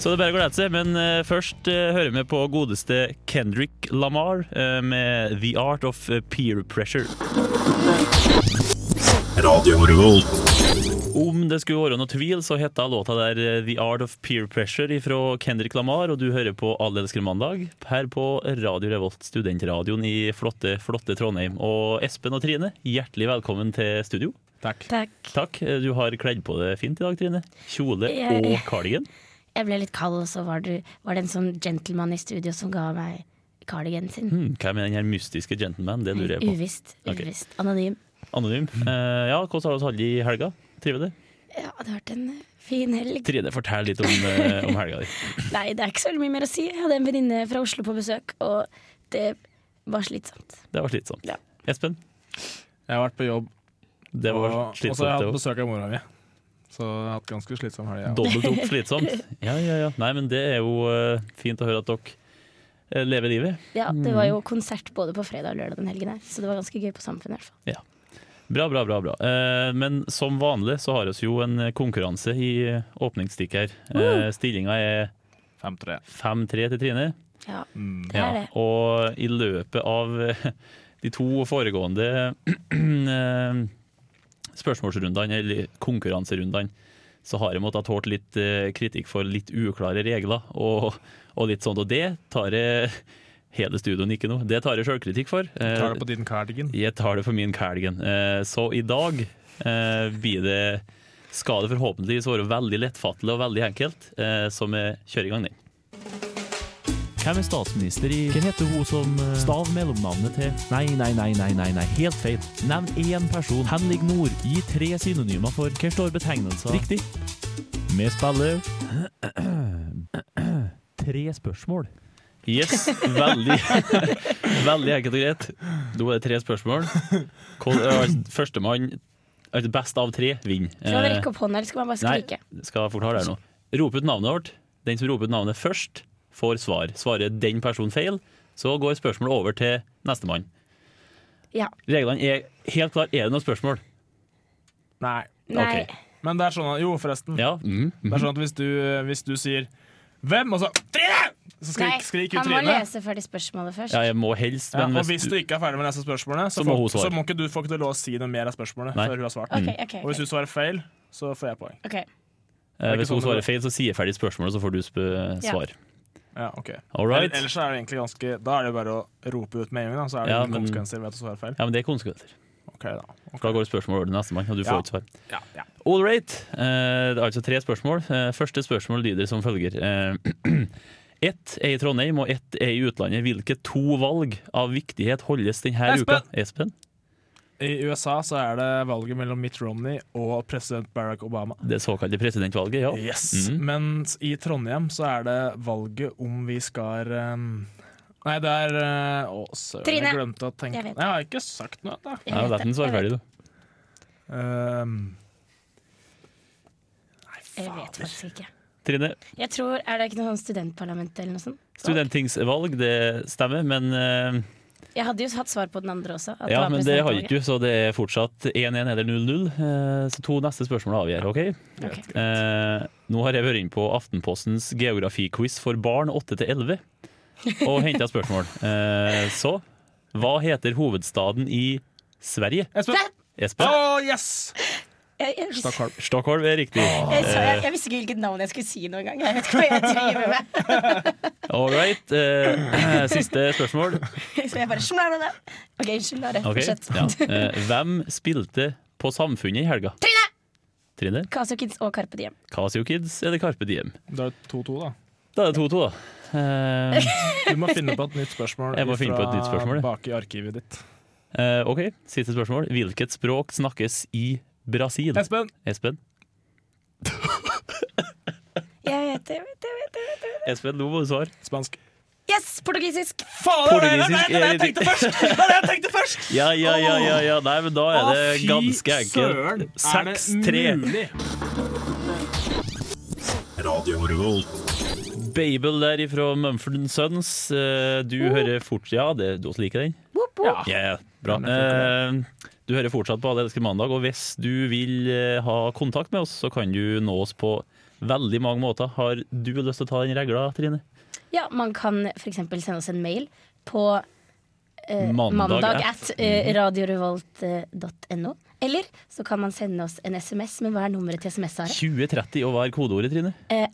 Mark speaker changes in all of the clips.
Speaker 1: Så det er bare å glede seg, men eh, først eh, hører vi på godeste Kendrick Lamar eh, med 'The Art of Peer Pressure'. Om det skulle være noe tvil, så heter låta der eh, The Art of Peer Pressure fra Kendrick Lamar, og du hører på Alle elsker mandag her på Radio Revolt, studentradioen i flotte, flotte Trondheim. Og Espen og Trine, hjertelig velkommen til studio.
Speaker 2: Takk.
Speaker 3: Takk.
Speaker 1: Takk. eh, Du har kledd på deg fint i dag, Trine. Kjole
Speaker 3: Jeg-
Speaker 1: og kardigan.
Speaker 3: Jeg ble litt kald, og så var det, var det en sånn gentleman i studio som ga meg cardiganen sin.
Speaker 1: Hmm, hvem er den her mystiske gentleman? Det lurer jeg på.
Speaker 3: Uvisst.
Speaker 1: Ok.
Speaker 3: uvisst. Anonym.
Speaker 1: Anonym. Eh, ja, hvordan har du hatt det i helga? Trives du?
Speaker 3: Ja, det har vært en eh, fin helg.
Speaker 1: Trine, fortell litt om, eh, om helga di.
Speaker 3: Nei, det er ikke så veldig mye mer å si. Jeg hadde en venninne fra Oslo på besøk, og det var slitsomt.
Speaker 1: Det var slitsomt.
Speaker 3: Ja.
Speaker 1: Espen,
Speaker 4: Jeg har vært på jobb,
Speaker 1: det
Speaker 4: og,
Speaker 1: var
Speaker 4: og så
Speaker 1: slitsomt.
Speaker 4: har jeg
Speaker 1: det
Speaker 4: hatt
Speaker 1: også.
Speaker 4: besøk av mora mi. Så jeg har hatt ganske slitsom helg. Ja.
Speaker 1: Dobbelt opp slitsomt. Ja, ja, ja. Nei, men det er jo eh, fint å høre at dere eh, lever livet.
Speaker 3: Ja, det var
Speaker 1: Mm.
Speaker 3: jo konsert både på fredag og lørdag den helgen her, så det var ganske gøy på Samfunnet i hvert fall.
Speaker 1: Bra, bra, bra. bra. Eh, men som vanlig så har vi jo en konkurranse i eh, åpningsstikk her. Uh, Stillinga er
Speaker 4: 5-3.
Speaker 1: 5-3 til Trine.
Speaker 3: Ja,
Speaker 4: Mm.
Speaker 3: det er det.
Speaker 1: Og i løpet av eh, de to foregående eh, spørsmålsrundene, eller konkurranserundene, så har jeg måttet ha tålt litt eh, kritikk for litt uklare regler og, og litt sånt. Og det tar jeg hele studioen ikke noe. Det tar jeg sjølkritikk for. Eh,
Speaker 4: Tar det på din cardigan.
Speaker 1: jeg tar det for min Calgan. Eh, Så i dag eh, blir det skal det forhåpentligvis være veldig lettfattelig og veldig enkelt, eh, så vi kjører i gang den. Hvem er statsminister i Hvem heter hun som eh, Stav mellomnavnet til Nei, nei, nei, nei, nei, nei. helt feil. Nevn én person. Henrik Nord. Gi tre synonymer for Hva står betegnelser? Riktig. Vi spiller Tre spørsmål. Yes, veldig, veldig enkelt og greit. Da er det tre spørsmål. Hvor- altså, Førstemann, altså best av tre, vinner.
Speaker 3: Skal man rekke opp hånda, eller skal man bare skrike?
Speaker 1: Eh, Nei, skal jeg forklare deg nå. Rop ut navnet vårt. Den som roper ut navnet først, får svar. Svarer den personen feil, så går spørsmålet over til nestemann.
Speaker 3: Ja.
Speaker 1: Reglene er helt klare. Er det noen spørsmål?
Speaker 4: Nei.
Speaker 3: Nei.
Speaker 1: Ok.
Speaker 4: Men det er sånn at, jo, forresten.
Speaker 1: Ja. Mm.
Speaker 4: Det er sånn at hvis du, hvis du sier 'Hvem?' og så 'Trine!' Så
Speaker 3: Nei,
Speaker 4: skrik, skriker jo
Speaker 3: han må
Speaker 4: Trine.
Speaker 3: lese ferdig spørsmålet først.
Speaker 1: ja, jeg må helst,
Speaker 4: Ja,
Speaker 1: men
Speaker 4: og
Speaker 1: hvis eh,
Speaker 4: hvis du ikke er ferdig med neste spørsmålet, så,
Speaker 1: Så må
Speaker 4: får,
Speaker 1: hun
Speaker 4: så
Speaker 1: svare.
Speaker 4: må ikke du får ikke du lov å si noe mer av spørsmålet
Speaker 1: Nei.
Speaker 4: før hun har svart.
Speaker 3: Ok, ok,
Speaker 4: Og hvis du svarer feil, så får jeg poeng.
Speaker 3: ok. Ok.
Speaker 1: eh, hvis
Speaker 4: ikke
Speaker 1: hun
Speaker 4: sånn
Speaker 1: svarer
Speaker 4: det
Speaker 1: feil, så sier jeg ferdig spørsmålet, så får du sp
Speaker 3: Ja.
Speaker 1: svar.
Speaker 4: Ja, ok
Speaker 1: All right.
Speaker 4: Ell- Ellers så er det egentlig ganske Da er det jo bare å rope ut med en gang, da. Så er det
Speaker 1: Ja,
Speaker 4: ingen
Speaker 1: men-
Speaker 4: konsekvenser ved at du svarer feil.
Speaker 1: Ja, men det er konsekvenser.
Speaker 4: Ok, da.
Speaker 1: For da går spørsmålet over til nestemann, og du får
Speaker 4: Ja.
Speaker 1: ikke svar.
Speaker 4: Ja, ja.
Speaker 1: All right. Eh, det er altså tre spørsmål. Eh, første spørsmål lyder som følger. Eh, ett er i Trondheim, og ett er i utlandet. Hvilke to valg av viktighet holdes denne
Speaker 4: Espen!
Speaker 1: uka? Espen?
Speaker 4: I USA så er det valget mellom Mitt Romney og president Barack Obama.
Speaker 1: Det såkalte presidentvalget, ja.
Speaker 4: Yes.
Speaker 1: Mhm.
Speaker 4: Mens i Trondheim så er det valget om vi skal ehm, Nei, det er eh, Å, søren,
Speaker 3: Trine.
Speaker 4: jeg glemte å tenke
Speaker 3: Jeg
Speaker 4: Jeg,
Speaker 3: vet.
Speaker 4: har ikke sagt noe. Da.
Speaker 1: Ja,
Speaker 3: vet
Speaker 1: La den svare
Speaker 3: jeg vet
Speaker 1: ferdig, du.
Speaker 4: Ehm, nei,
Speaker 3: det. Jeg vet
Speaker 4: fader.
Speaker 3: faktisk ikke.
Speaker 1: Trine,
Speaker 3: Jeg tror, Er det ikke noe sånn studentparlament eller noe sånt?
Speaker 1: studenttingsvalg, det stemmer, men eh,
Speaker 3: Jeg hadde jo hatt svar på den andre også. at
Speaker 1: Ja,
Speaker 3: var
Speaker 1: men det har
Speaker 3: presidentvalget.
Speaker 1: ikke du, så det er fortsatt 1-1 eller 0-0. Eh, Så to neste spørsmål avgjør, OK?
Speaker 3: Ok.
Speaker 1: Eh, nå har jeg vært inn på Aftenpostens geografiquiz for barn 8-11 og henta spørsmål. Eh, så hva heter hovedstaden i Sverige?
Speaker 4: Espen! Å,
Speaker 1: Espen?
Speaker 4: yes!
Speaker 3: Jeg, jeg, jeg,
Speaker 4: Stockholm.
Speaker 1: Stockholm er riktig.
Speaker 3: sa- jeg, jeg visste ikke hvilket navn jeg skulle si noen gang. Jeg vet ikke hva jeg driver med.
Speaker 1: All right. Eh, siste spørsmål.
Speaker 3: Så jeg bare smør det. OK, unnskyld, Are.
Speaker 1: Ok,
Speaker 3: Fortsett.
Speaker 1: Ja. Eh, hvem spilte på Samfunnet i helga? Trine! Trine?
Speaker 3: Casio Kids og Carpe Diem.
Speaker 1: Casio Kids eller Carpe Diem?
Speaker 4: Da er det 2-2, da.
Speaker 1: Da er det 2-2, da. Eh,
Speaker 4: Du må finne på et nytt spørsmål
Speaker 1: Jeg må finne på et nytt spørsmål, ja.
Speaker 4: bak i arkivet ditt.
Speaker 1: Eh, ok, siste spørsmål. Hvilket språk snakkes i Brasil?
Speaker 4: Espen!
Speaker 1: Espen?
Speaker 3: Jeg vet det, jeg vet det, jeg vet det. Jeg vet det.
Speaker 1: Espen, nå må du svare.
Speaker 4: Spansk.
Speaker 3: Yes, portugisisk!
Speaker 4: Faen, det var det-
Speaker 1: Portugisisk eh,
Speaker 4: det var det jeg
Speaker 1: er-
Speaker 4: tenkte først! Det var det jeg tenkte først!
Speaker 1: Ja, ja, ja, ja, ja. Nei, men da er
Speaker 4: Å,
Speaker 1: det
Speaker 4: fy
Speaker 1: ganske
Speaker 4: søren,
Speaker 1: enkelt.
Speaker 4: er det mm.
Speaker 1: 6-3.
Speaker 4: mulig?
Speaker 1: Babel der ifra Mumford Sons. Eh, Du
Speaker 4: Oh.
Speaker 1: hører fort... Ja, det, du også liker den?
Speaker 3: Woop, woop.
Speaker 1: Ja, ja, bra.
Speaker 4: Ja, men
Speaker 1: Eh, du hører fortsatt på Alle elsker mandag, og hvis du vil eh, ha kontakt med oss, så kan du nå oss på veldig mange måter. Har du lyst til å ta den regla, Trine?
Speaker 3: Ja, man kan f.eks. sende oss en mail på eh,
Speaker 1: Mandag
Speaker 3: mandag
Speaker 1: at- Mhm.
Speaker 3: at eh, radiorevolt.no. Eller så kan man sende oss en SMS, men hva er nummeret til SMS-svaret?
Speaker 1: 2030, og hva er kodeordet, Trine?
Speaker 3: Eh,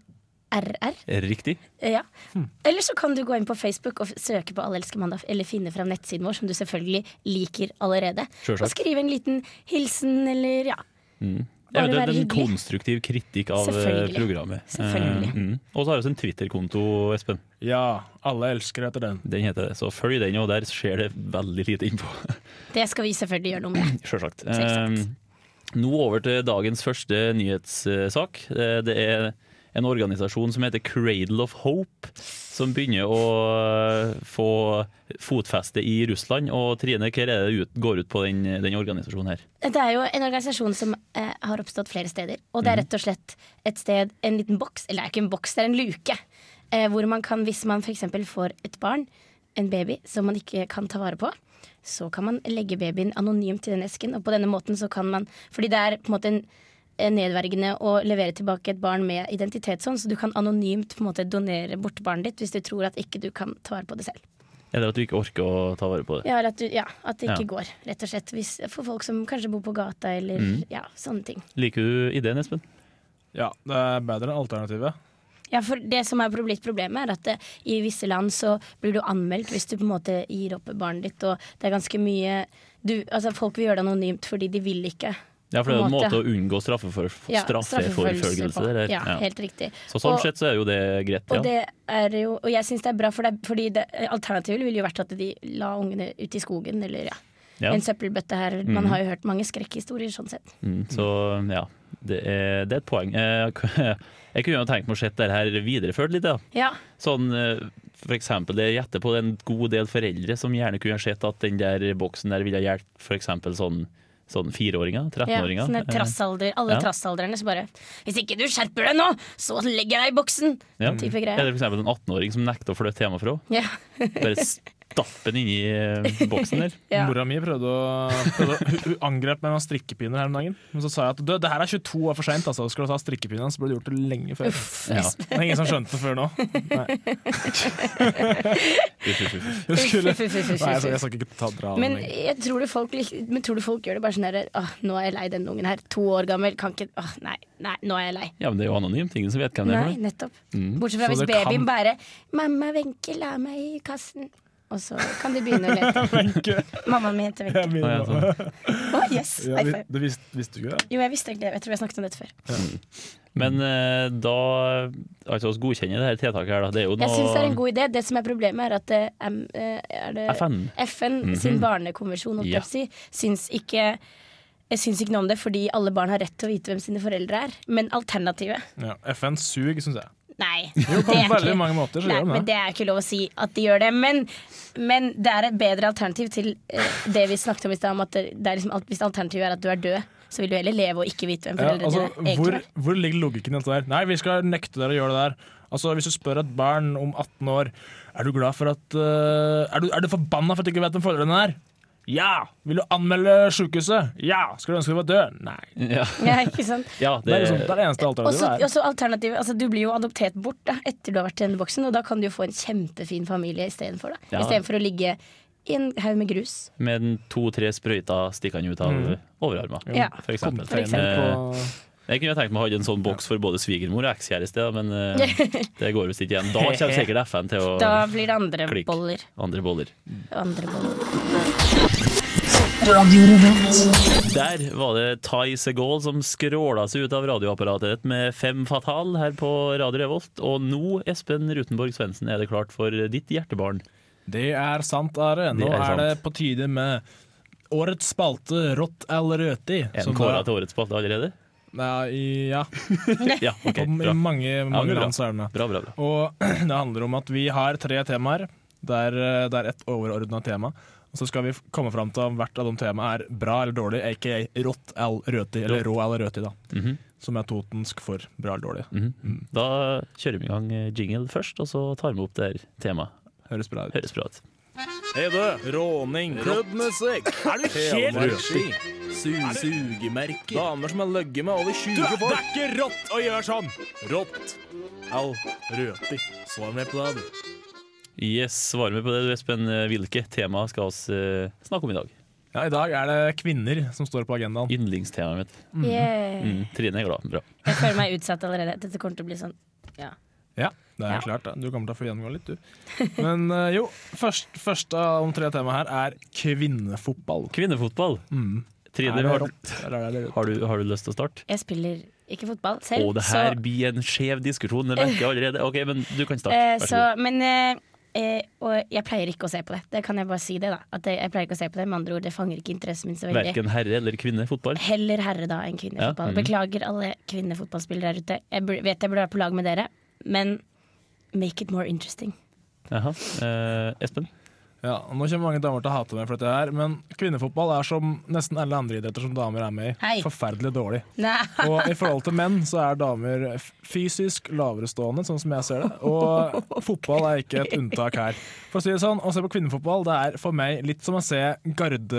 Speaker 3: RR.
Speaker 1: Riktig.
Speaker 3: Eh, ja.
Speaker 1: Hmm.
Speaker 3: Eller så kan du gå inn på Facebook og f- søke på Alle elsker mandag, eller finne fram nettsiden vår, som du selvfølgelig liker allerede.
Speaker 1: Sjølsagt. Hmm.
Speaker 3: Og skrive en liten hilsen, eller ja. Bare
Speaker 1: Eventuelt
Speaker 3: være
Speaker 1: en
Speaker 3: hyggelig.
Speaker 1: konstruktiv kritikk av eh,
Speaker 3: Selvfølgelig.
Speaker 1: programmet. Eh,
Speaker 3: Selvfølgelig.
Speaker 1: mm. Og så har vi også en Twitter-konto, Espen.
Speaker 4: Ja, alle elsker etter den.
Speaker 1: Den heter det. Så følg den, og der skjer det veldig lite innpå.
Speaker 3: Det skal vi selvfølgelig gjøre noe med.
Speaker 1: Sjølsagt.
Speaker 3: Selvsagt.
Speaker 1: Eh, Nå over til dagens første nyhetssak. Eh, Det er en organisasjon som heter Cradle of Hope, som begynner å eh, få fotfeste i Russland. Og Trine, hva er det det ut- går ut på den, den organisasjonen her?
Speaker 3: Det er jo en organisasjon som eh, har oppstått flere steder. Og det er rett og slett et sted, en liten boks, eller det er ikke en boks, det er en luke. Eh, hvor man kan, hvis man f.eks. får et barn, en baby, som man ikke kan ta vare på, så kan man legge babyen anonymt i den esken. Og på denne måten så kan man Fordi det er på en måte en eh, nedverdigende å levere tilbake et barn med identitetssånd, så du kan anonymt på en måte donere bort barnet ditt hvis du tror at ikke du kan ta vare på det selv.
Speaker 1: Eller at du ikke orker å ta vare på det.
Speaker 3: Ja, eller at, du, ja, at det ikke
Speaker 1: Ja.
Speaker 3: går, rett og slett. Hvis, for folk som kanskje bor på gata, eller
Speaker 1: Mm.
Speaker 3: ja, sånne ting.
Speaker 1: Liker du ideen, Espen?
Speaker 4: Ja, det er bedre enn alternativet.
Speaker 3: Ja, for det som er blitt problemet, er at eh, i visse land så blir du anmeldt hvis du på en måte gir opp barnet ditt, og det er ganske mye du, altså Folk vil gjøre det anonymt fordi de vil ikke.
Speaker 1: Ja, for det er jo en
Speaker 3: På en
Speaker 1: måte å unngå straffeforf-
Speaker 3: Ja,
Speaker 1: straffeforfølgelse.
Speaker 3: på-
Speaker 1: eller-
Speaker 3: Ja,
Speaker 1: ja.
Speaker 3: helt riktig.
Speaker 1: Så sånn
Speaker 3: Og-
Speaker 1: sett så er jo det greit,
Speaker 3: Og
Speaker 1: ja.
Speaker 3: det er jo Og jeg syns det er bra, for det, er- fordi det, alternativet ville jo vært at de la ungene ut i skogen, eller ja,
Speaker 1: ja.
Speaker 3: en søppelbøtte her. Man har jo hørt mange skrekkhistorier sånn sett.
Speaker 1: Mm, så ja, det er, det er et poeng. Eh, Jeg kunne jo tenkt meg å se det her videreført litt, ja.
Speaker 3: Ja,
Speaker 1: Sånn, eh, for eksempel, jeg gjetter på det er en god del foreldre som gjerne kunne ha sett at den der boksen der ville ha hjulpet for eksempel sånn, sånn fireåringer, Eh,
Speaker 3: Ja, sånn
Speaker 1: 13-åringer.
Speaker 4: Eh,
Speaker 3: sånne trassalder, alle
Speaker 1: ja.
Speaker 3: trassalderne som bare 'Hvis ikke du skjerper deg nå, så legger jeg deg i boksen!'
Speaker 1: Ja.
Speaker 3: Type
Speaker 4: Mm.
Speaker 3: greier.
Speaker 1: Eller for eksempel en 18-åring som nekter å flytte hjemmefra.
Speaker 3: Ja.
Speaker 1: Bare stappe den inni eh, boksen der.
Speaker 3: Ja.
Speaker 4: Mora mi prøvde å, prøvde, å- hun, hun angrep meg med noen strikkepinner her om dagen. Men så sa jeg at du, det her er 22 år for seint. Altså. Skulle du ta strikkepinnen, så burde du gjort det lenge før.
Speaker 1: Ja.
Speaker 4: Det er ingen som skjønte det før nå. Nei,
Speaker 1: Uff, uff, uff, uff.
Speaker 4: jeg, skulle,
Speaker 3: Uff, uff, uff, uff, uff.
Speaker 4: nei, jeg, skal- jeg skal ikke ta dra den
Speaker 3: Men
Speaker 4: lenger.
Speaker 3: jeg tror du folk, lik- men tror du folk gjør det bare sånn der, Åh, 'Nå er jeg lei denne ungen her. To år gammel. Kan ikke åh, Nei, nei, nå er jeg lei'.
Speaker 1: Ja, men det er jo anonymt, ingen som vet hvem det er.
Speaker 3: Nei,
Speaker 1: for noe.
Speaker 3: nettopp. Bortsett fra
Speaker 4: Mm. Så
Speaker 3: hvis
Speaker 4: det kan-
Speaker 3: babyen bare 'Mamma Wenche, la meg i kassen'. Og så kan de begynne å lete. Mammaen min heter
Speaker 4: Jeg
Speaker 1: Å,
Speaker 3: Wenche.
Speaker 1: ja,
Speaker 4: begynner
Speaker 1: sånn.
Speaker 4: nå.
Speaker 3: Å, yes!
Speaker 4: Ja,
Speaker 3: High
Speaker 4: vi-
Speaker 3: five.
Speaker 4: det visste, visste du ikke det?
Speaker 3: Jo, jeg visste egentlig det. Jeg tror jeg snakket om dette før.
Speaker 1: Mm. Men eh, da Altså, oss godkjenner det her tiltaket her, da. Det er jo
Speaker 3: Jeg syns det er en
Speaker 1: noe
Speaker 3: god idé. Det som er problemet, er at det er, eh, er det
Speaker 1: FN.
Speaker 3: FN
Speaker 4: Mhm.
Speaker 3: sin barnekonvensjon holdt jeg
Speaker 1: Ja.
Speaker 3: på å si, syns ikke jeg syns ikke noe om det, fordi alle barn har rett til å vite hvem sine foreldre er. Men alternativet
Speaker 4: Ja, FN suger, syns jeg.
Speaker 3: Nei.
Speaker 4: Jo, på
Speaker 3: det er
Speaker 4: veldig
Speaker 3: ikke-
Speaker 4: mange måter så
Speaker 3: Nei,
Speaker 4: gjør de
Speaker 3: men
Speaker 4: det.
Speaker 3: det er ikke lov å si at de gjør det. Men, men det er et bedre alternativ til eh, det vi snakket om i stad, om at det det er liksom, alt- hvis alternativet er at du er død, så vil du heller leve og ikke vite hvem
Speaker 4: Ja,
Speaker 3: foreldrene
Speaker 4: altså,
Speaker 3: dine egentlig
Speaker 4: hvor,
Speaker 3: er.
Speaker 4: hvor ligger logikken i dette der? Nei, vi skal nekte dere å gjøre det der. Altså, Hvis du spør et barn om 18 år Er du glad for at eh, Er du, er du forbanna for at du ikke vet hvem foreldrene er? Ja! Vil du anmelde sjukehuset? Ja! Skulle du ønske du var død? Nei.
Speaker 1: Ja,
Speaker 3: Ja, ikke sant?
Speaker 1: ja
Speaker 4: Det er liksom, det, er det eneste
Speaker 3: Og så
Speaker 4: alternativet.
Speaker 3: og så alternativet altså, Du blir jo adoptert bort da, etter du har vært i denne boksen, og da kan du jo få en kjempefin familie istedenfor. da.
Speaker 1: Ja.
Speaker 3: Istedenfor å ligge i en haug med grus.
Speaker 1: med to-tre sprøyter stikker han ut av
Speaker 4: Mm.
Speaker 1: overarmen,
Speaker 3: Ja.
Speaker 1: for eksempel.
Speaker 3: For
Speaker 4: her.
Speaker 3: eksempel.
Speaker 4: Eh,
Speaker 1: Jeg kunne tenkt meg å ha en sånn boks for både svigermor og ekskjæreste, da, men eh, det går visst ikke igjen. Da kommer sikkert FN til å
Speaker 3: Da blir det andre
Speaker 1: Klikk.
Speaker 3: boller.
Speaker 1: andre boller.
Speaker 3: Andre boller.
Speaker 1: Der var det Ty Segal som skråla seg ut av radioapparatet ditt med Fem Fatal her på Radio Revolt. Og nå, Espen Rutenborg Svendsen, er det klart for ditt hjertebarn.
Speaker 4: Det er sant, Are. Nå
Speaker 1: Det er
Speaker 4: er,
Speaker 1: sant.
Speaker 4: det på tide med Årets spalte, rått eller røti.
Speaker 1: Er
Speaker 4: som
Speaker 1: den kåra
Speaker 4: da-
Speaker 1: til årets spalte allerede?
Speaker 4: Ja, i, ja.
Speaker 1: Ja, ok,
Speaker 4: Om,
Speaker 1: bra.
Speaker 4: i mange,
Speaker 1: men
Speaker 4: mange
Speaker 1: bra.
Speaker 4: land så er den det.
Speaker 1: Bra, bra, bra.
Speaker 4: Og det handler om at vi har tre temaer. Det er, det er et overordna tema. Og så skal vi komme fram til om hvert av de temaene er bra eller dårlig, aka rått eller røti, eller rå eller røti, da.
Speaker 1: Mhm,
Speaker 4: Som er totensk for bra eller dårlig.
Speaker 1: mhm. Da kjører vi i gang eh, jingle først, og så tar vi opp det her temaet.
Speaker 4: Høres bra ut.
Speaker 1: Høres bra ut.
Speaker 2: Hei du, råning, rødmusikk,
Speaker 4: Er du
Speaker 2: telemarkski, sugemerker, damer som har løgget med over 20 folk.
Speaker 4: ikke rått å gjøre sånn!
Speaker 2: Rått, au, røti, svar meg på det. du.
Speaker 1: Yes, svarer vi på det, du Espen. Eh, Hvilke tema skal vi eh, snakke om i dag?
Speaker 4: Ja, I dag er det kvinner som står på agendaen.
Speaker 1: Yndlingstemaet mitt.
Speaker 3: Yeah.
Speaker 1: Mm, Trine er glad. Bra.
Speaker 3: Jeg føler meg utsatt allerede. Dette kommer til å bli sånn ja.
Speaker 4: Ja, det er
Speaker 3: Ja.
Speaker 4: klart. da. Du kommer til å få gjennomgå litt, du. Men eh, jo, først, først av de tre temaene her er kvinnefotball.
Speaker 1: Kvinnefotball.
Speaker 4: Mm.
Speaker 1: Trine,
Speaker 4: Er det
Speaker 1: har, du-
Speaker 4: rått, eller er det rødt?
Speaker 1: har, du, har du lyst til å starte?
Speaker 3: Jeg spiller ikke fotball
Speaker 1: Å,
Speaker 3: selv,
Speaker 1: det her blir en skjev diskusjon. Det merker jeg allerede. Ok, men du kan
Speaker 3: så,
Speaker 1: starte.
Speaker 3: eh,
Speaker 1: Vær så
Speaker 3: så
Speaker 1: god.
Speaker 3: Men eh, eh, Og jeg pleier ikke å se på det. Det kan jeg bare si det, da. At jeg, jeg pleier ikke å se på det. Med andre ord, det fanger ikke interessen min så veldig.
Speaker 1: Verken herre eller kvinne fotball.
Speaker 3: Heller herre da enn kvinnefotball.
Speaker 1: Ja, mhm.
Speaker 3: Beklager alle kvinnefotballspillere der ute. Jeg bur- vet jeg burde være på lag med dere, men make it more interesting.
Speaker 1: Jaha. Eh, Espen?
Speaker 4: Ja, og nå kommer mange damer til å hate meg for dette her, men kvinnefotball er som nesten alle andre idretter som damer er med i,
Speaker 3: Hei.
Speaker 4: forferdelig dårlig.
Speaker 3: Nei.
Speaker 4: Og i forhold til menn så er damer f- fysisk laverestående, sånn som jeg ser det. Og fotball er ikke et unntak her. For å si det sånn, å se på kvinnefotball det er for meg litt som å se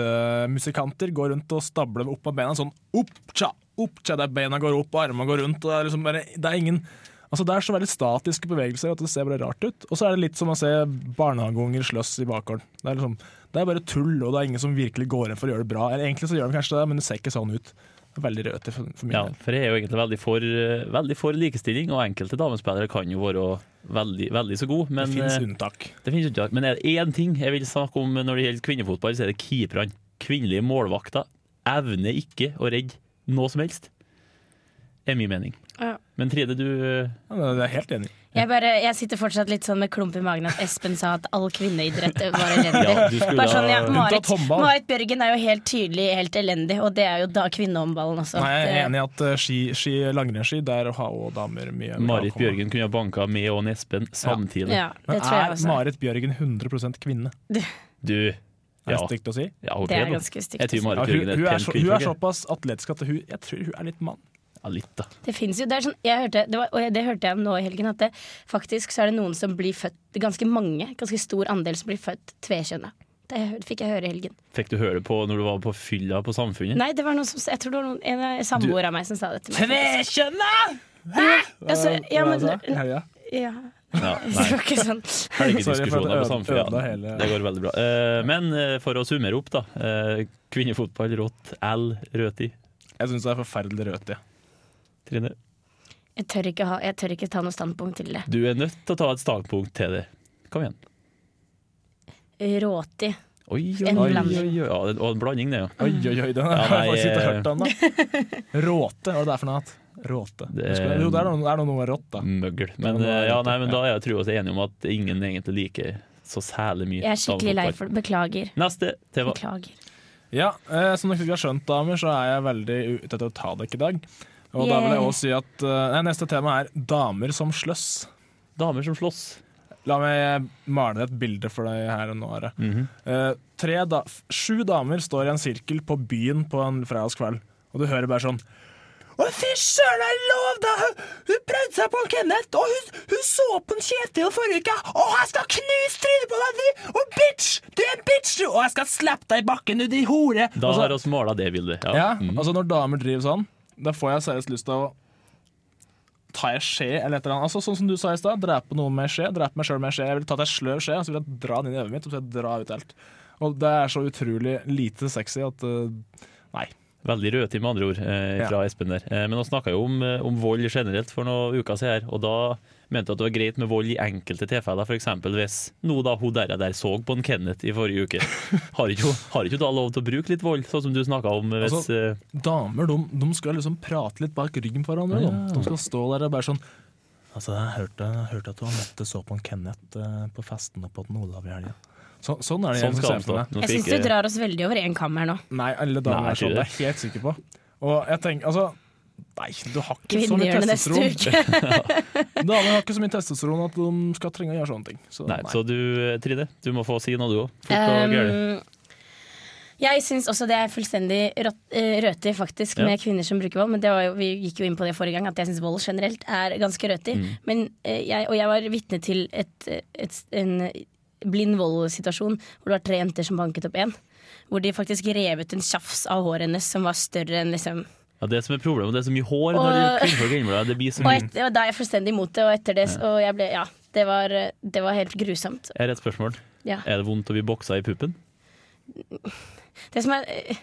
Speaker 4: gardemusikanter gå rundt og stable opp av bena sånn opp-tja, opp-tja, der beina går opp og armene går rundt. Og det, er liksom bare, det er ingen Altså Det er så veldig statiske bevegelser at det ser bare rart ut. Og så er det litt som å se barnehageunger slåss i bakgården. Det er, liksom, det er bare tull, og det er ingen som virkelig går inn for å gjøre det bra. Eller egentlig så gjør de kanskje det, men det ser ikke sånn ut. Det er veldig rødt for, for min
Speaker 1: Ja,
Speaker 4: del.
Speaker 1: for jeg er jo egentlig veldig for, eh, veldig for likestilling, og enkelte damespillere kan jo være veldig, veldig så gode. Men,
Speaker 4: det finnes
Speaker 1: eh,
Speaker 4: unntak.
Speaker 1: det finnes unntak. Men er det én ting jeg vil snakke om når det gjelder kvinnefotball, så er det keeperne. Kvinnelige målvakter evner ikke å redde noe som helst. Det er min mening.
Speaker 3: Ja.
Speaker 1: Men Trine, du eh,
Speaker 4: Ja, det er jeg helt enig. i.
Speaker 3: Jeg, bare, jeg sitter fortsatt litt sånn med klump i magen at Espen sa at all kvinneidrett var elendig.
Speaker 1: Ja, du skulle
Speaker 3: Bare sånn, ja,
Speaker 1: ha-
Speaker 3: Marit,
Speaker 4: Unntatt håndball.
Speaker 3: Marit Bjørgen er jo helt tydelig helt elendig, og det er jo da kvinnehåndballen også.
Speaker 4: Nei, jeg er
Speaker 3: At,
Speaker 4: enig i at eh, ski, ski langrennsski, der har også damer mye å
Speaker 1: eh, Marit
Speaker 4: komme.
Speaker 1: Bjørgen kunne ha banka med og Espen samtidig.
Speaker 3: eh, ja, det
Speaker 4: Men
Speaker 3: tror jeg
Speaker 4: er
Speaker 3: også.
Speaker 4: Marit Bjørgen 100 kvinne?
Speaker 1: Du
Speaker 4: Er det
Speaker 1: Ja.
Speaker 4: stygt å si?
Speaker 1: Ja, hun
Speaker 3: Det er
Speaker 1: pen, da.
Speaker 3: ganske stygt altså.
Speaker 1: Jeg
Speaker 4: Ja,
Speaker 1: tror
Speaker 3: å si.
Speaker 1: Marit
Speaker 4: hun,
Speaker 1: Bjørgen er
Speaker 4: hun,
Speaker 1: et
Speaker 4: er
Speaker 1: pent
Speaker 4: så, hun er
Speaker 1: kvinnfolk.
Speaker 4: såpass atletisk at hun, jeg tror hun er litt mann.
Speaker 1: Ja, litt, da.
Speaker 3: Det finnes jo, det er sånn, jeg hørte, det, var, og det hørte jeg nå i helgen, at det, faktisk så er det noen som blir født, det er ganske mange, ganske stor andel som blir født tvekjønna. Det hør- fikk jeg høre i helgen.
Speaker 1: Fikk du høre det på når du var på fylla på Samfunnet?
Speaker 3: Nei, det var noen som, jeg tror det var noen, en samboer av meg som sa det til meg.
Speaker 1: Tvekjønna!
Speaker 3: Altså,
Speaker 4: Eh,
Speaker 3: ja, men,
Speaker 4: Helga?
Speaker 3: ja,
Speaker 1: Ja,
Speaker 3: det
Speaker 1: nei.
Speaker 3: var ikke sånn.
Speaker 4: Sorry for at
Speaker 1: Helgediskusjoner
Speaker 4: jeg
Speaker 1: på
Speaker 4: øde-
Speaker 1: Samfunnet.
Speaker 4: ødela
Speaker 1: ja.
Speaker 4: hele-
Speaker 1: Det går veldig bra. Eh, Men eh, for å summere opp, da. eh, Kvinnefotball, rått, L, røti.
Speaker 4: Jeg syns det er forferdelig rødt, jeg.
Speaker 1: Trine,
Speaker 3: Jeg tør ikke, ha, jeg tør ikke ta noe standpunkt til det.
Speaker 1: du er nødt til å ta et standpunkt til det. Kom igjen.
Speaker 3: Råti.
Speaker 1: Oi, oi,
Speaker 3: En
Speaker 1: oi,
Speaker 3: blanding.
Speaker 1: oi, oi. Ja, det- og en blanding, det, ja.
Speaker 3: Mm.
Speaker 4: Oi, oi, oi, den har
Speaker 1: Ja,
Speaker 4: jeg
Speaker 1: nei,
Speaker 4: faktisk ikke
Speaker 1: eh,
Speaker 4: hørt om. da. Råte, hva er det der for noe? annet? Råte.
Speaker 1: Det-
Speaker 4: Husker du- Jo, det er noe, det er noe rått, da.
Speaker 1: Møgl. Men,
Speaker 4: Ja, nå er
Speaker 1: eh,
Speaker 4: det
Speaker 1: ja,
Speaker 4: rødt,
Speaker 1: nei, men
Speaker 4: ja.
Speaker 1: da er jeg tror jeg vi er enige om at ingen egentlig liker så særlig mye
Speaker 3: Jeg er skikkelig lei
Speaker 1: damefotball.
Speaker 3: for det. Beklager.
Speaker 1: Neste tema.
Speaker 3: Beklager.
Speaker 4: Ja, eh, som dere sikkert har skjønt, damer, så er jeg veldig ute etter å ta dere i dag. Og da vil jeg
Speaker 3: Yay.
Speaker 4: også si at eh, nei, neste tema er damer som sløss.
Speaker 1: Damer som slåss.
Speaker 4: La meg eh, male et bilde for deg her og nå. Are. Eh, tre da f- sju damer står i en sirkel på byen på en fredagskveld, og du hører bare sånn Å, fy søren, er det lov, da! Hun, hun prøvde seg på Kenneth, og hun, hun så på en Kjetil forrige uke. Og jeg skal knuse trynet på deg, du! Og bitch! Du er en bitch, du! Og jeg skal slappe deg i bakken, du, din hore!
Speaker 1: Da
Speaker 4: Og så-
Speaker 1: har vi mala det bildet. Altså- Ja.
Speaker 4: ja, altså når damer driver sånn, da får jeg seriøst lyst til å ta ei skje eller et eller annet. Altså, sånn som du sa i stad, drepe noen med ei skje, drepe meg sjøl med ei skje. Jeg vil ta ei sløv skje, og så vil jeg dra den inn i øyet mitt, og så vil jeg dra ut alt. Og det er så utrolig lite sexy at eh, Nei.
Speaker 1: Veldig rødtid, med andre ord, eh, fra Espen der. Eh, men han snakka jo om, eh, om vold generelt for noen uker siden, her, og da mente han at det var greit med vold i enkelte tilfeller. F.eks. hvis nå da hun der, der så på en Kenneth i forrige uke. Har ikke hun- har ikke hun da lov til å bruke litt vold, sånn som du snakka om? eh, Hvis,
Speaker 4: Altså,
Speaker 1: eh,
Speaker 4: Damer de, de skal liksom prate litt bak ryggen på hverandre. De. de skal stå der og bare sånn Altså, jeg hørte, jeg hørte at du Anette så på en Kenneth eh, på festen oppe på den Olav i helga. Så, sånn er det
Speaker 1: sånn
Speaker 4: jeg
Speaker 1: skal
Speaker 4: ser
Speaker 1: han
Speaker 4: for meg.
Speaker 1: stå. Nå
Speaker 3: Jeg
Speaker 1: skal
Speaker 3: syns du
Speaker 1: ikke-
Speaker 3: drar oss veldig over én kam her nå.
Speaker 4: Nei, alle damer
Speaker 1: Nei,
Speaker 4: er sånn,
Speaker 1: jeg tror
Speaker 4: det er jeg helt sikker på. Og jeg tenker, altså Nei, du har ikke så mye
Speaker 3: Kvinnegjør det neste
Speaker 4: testosteron.
Speaker 3: uke.
Speaker 4: Damer har ikke så mye testosteron at de skal trenge å gjøre sånne ting. Så,
Speaker 1: Nei,
Speaker 4: nei.
Speaker 1: så du, eh, Trine, du må få si noe du òg. Fort og gærent.
Speaker 3: Um, jeg syns også det er fullstendig rått- eh, røtig faktisk
Speaker 1: Ja.
Speaker 3: med kvinner som bruker vold. Men det var jo, vi gikk jo inn på det forrige gang, at jeg syns vold generelt er ganske røtig.
Speaker 1: Mm.
Speaker 3: Men, eh, jeg, og jeg var vitne til et, et, en blind vold-situasjon hvor det var tre jenter som banket opp én. Hvor de faktisk rev ut en tjafs av håret hennes som var større enn liksom
Speaker 1: Ja, det som er problemet, det er så mye hår når
Speaker 3: Og-
Speaker 1: det- kvinnfolk er innblanda. Det blir så mye.
Speaker 3: Og et, og da er jeg fullstendig imot det, og etter det s- Og jeg ble Ja. Det var, det var helt grusomt.
Speaker 1: Jeg har et spørsmål.
Speaker 3: Ja.
Speaker 1: Er det vondt å bli boksa i puppen?
Speaker 3: Det som er eh,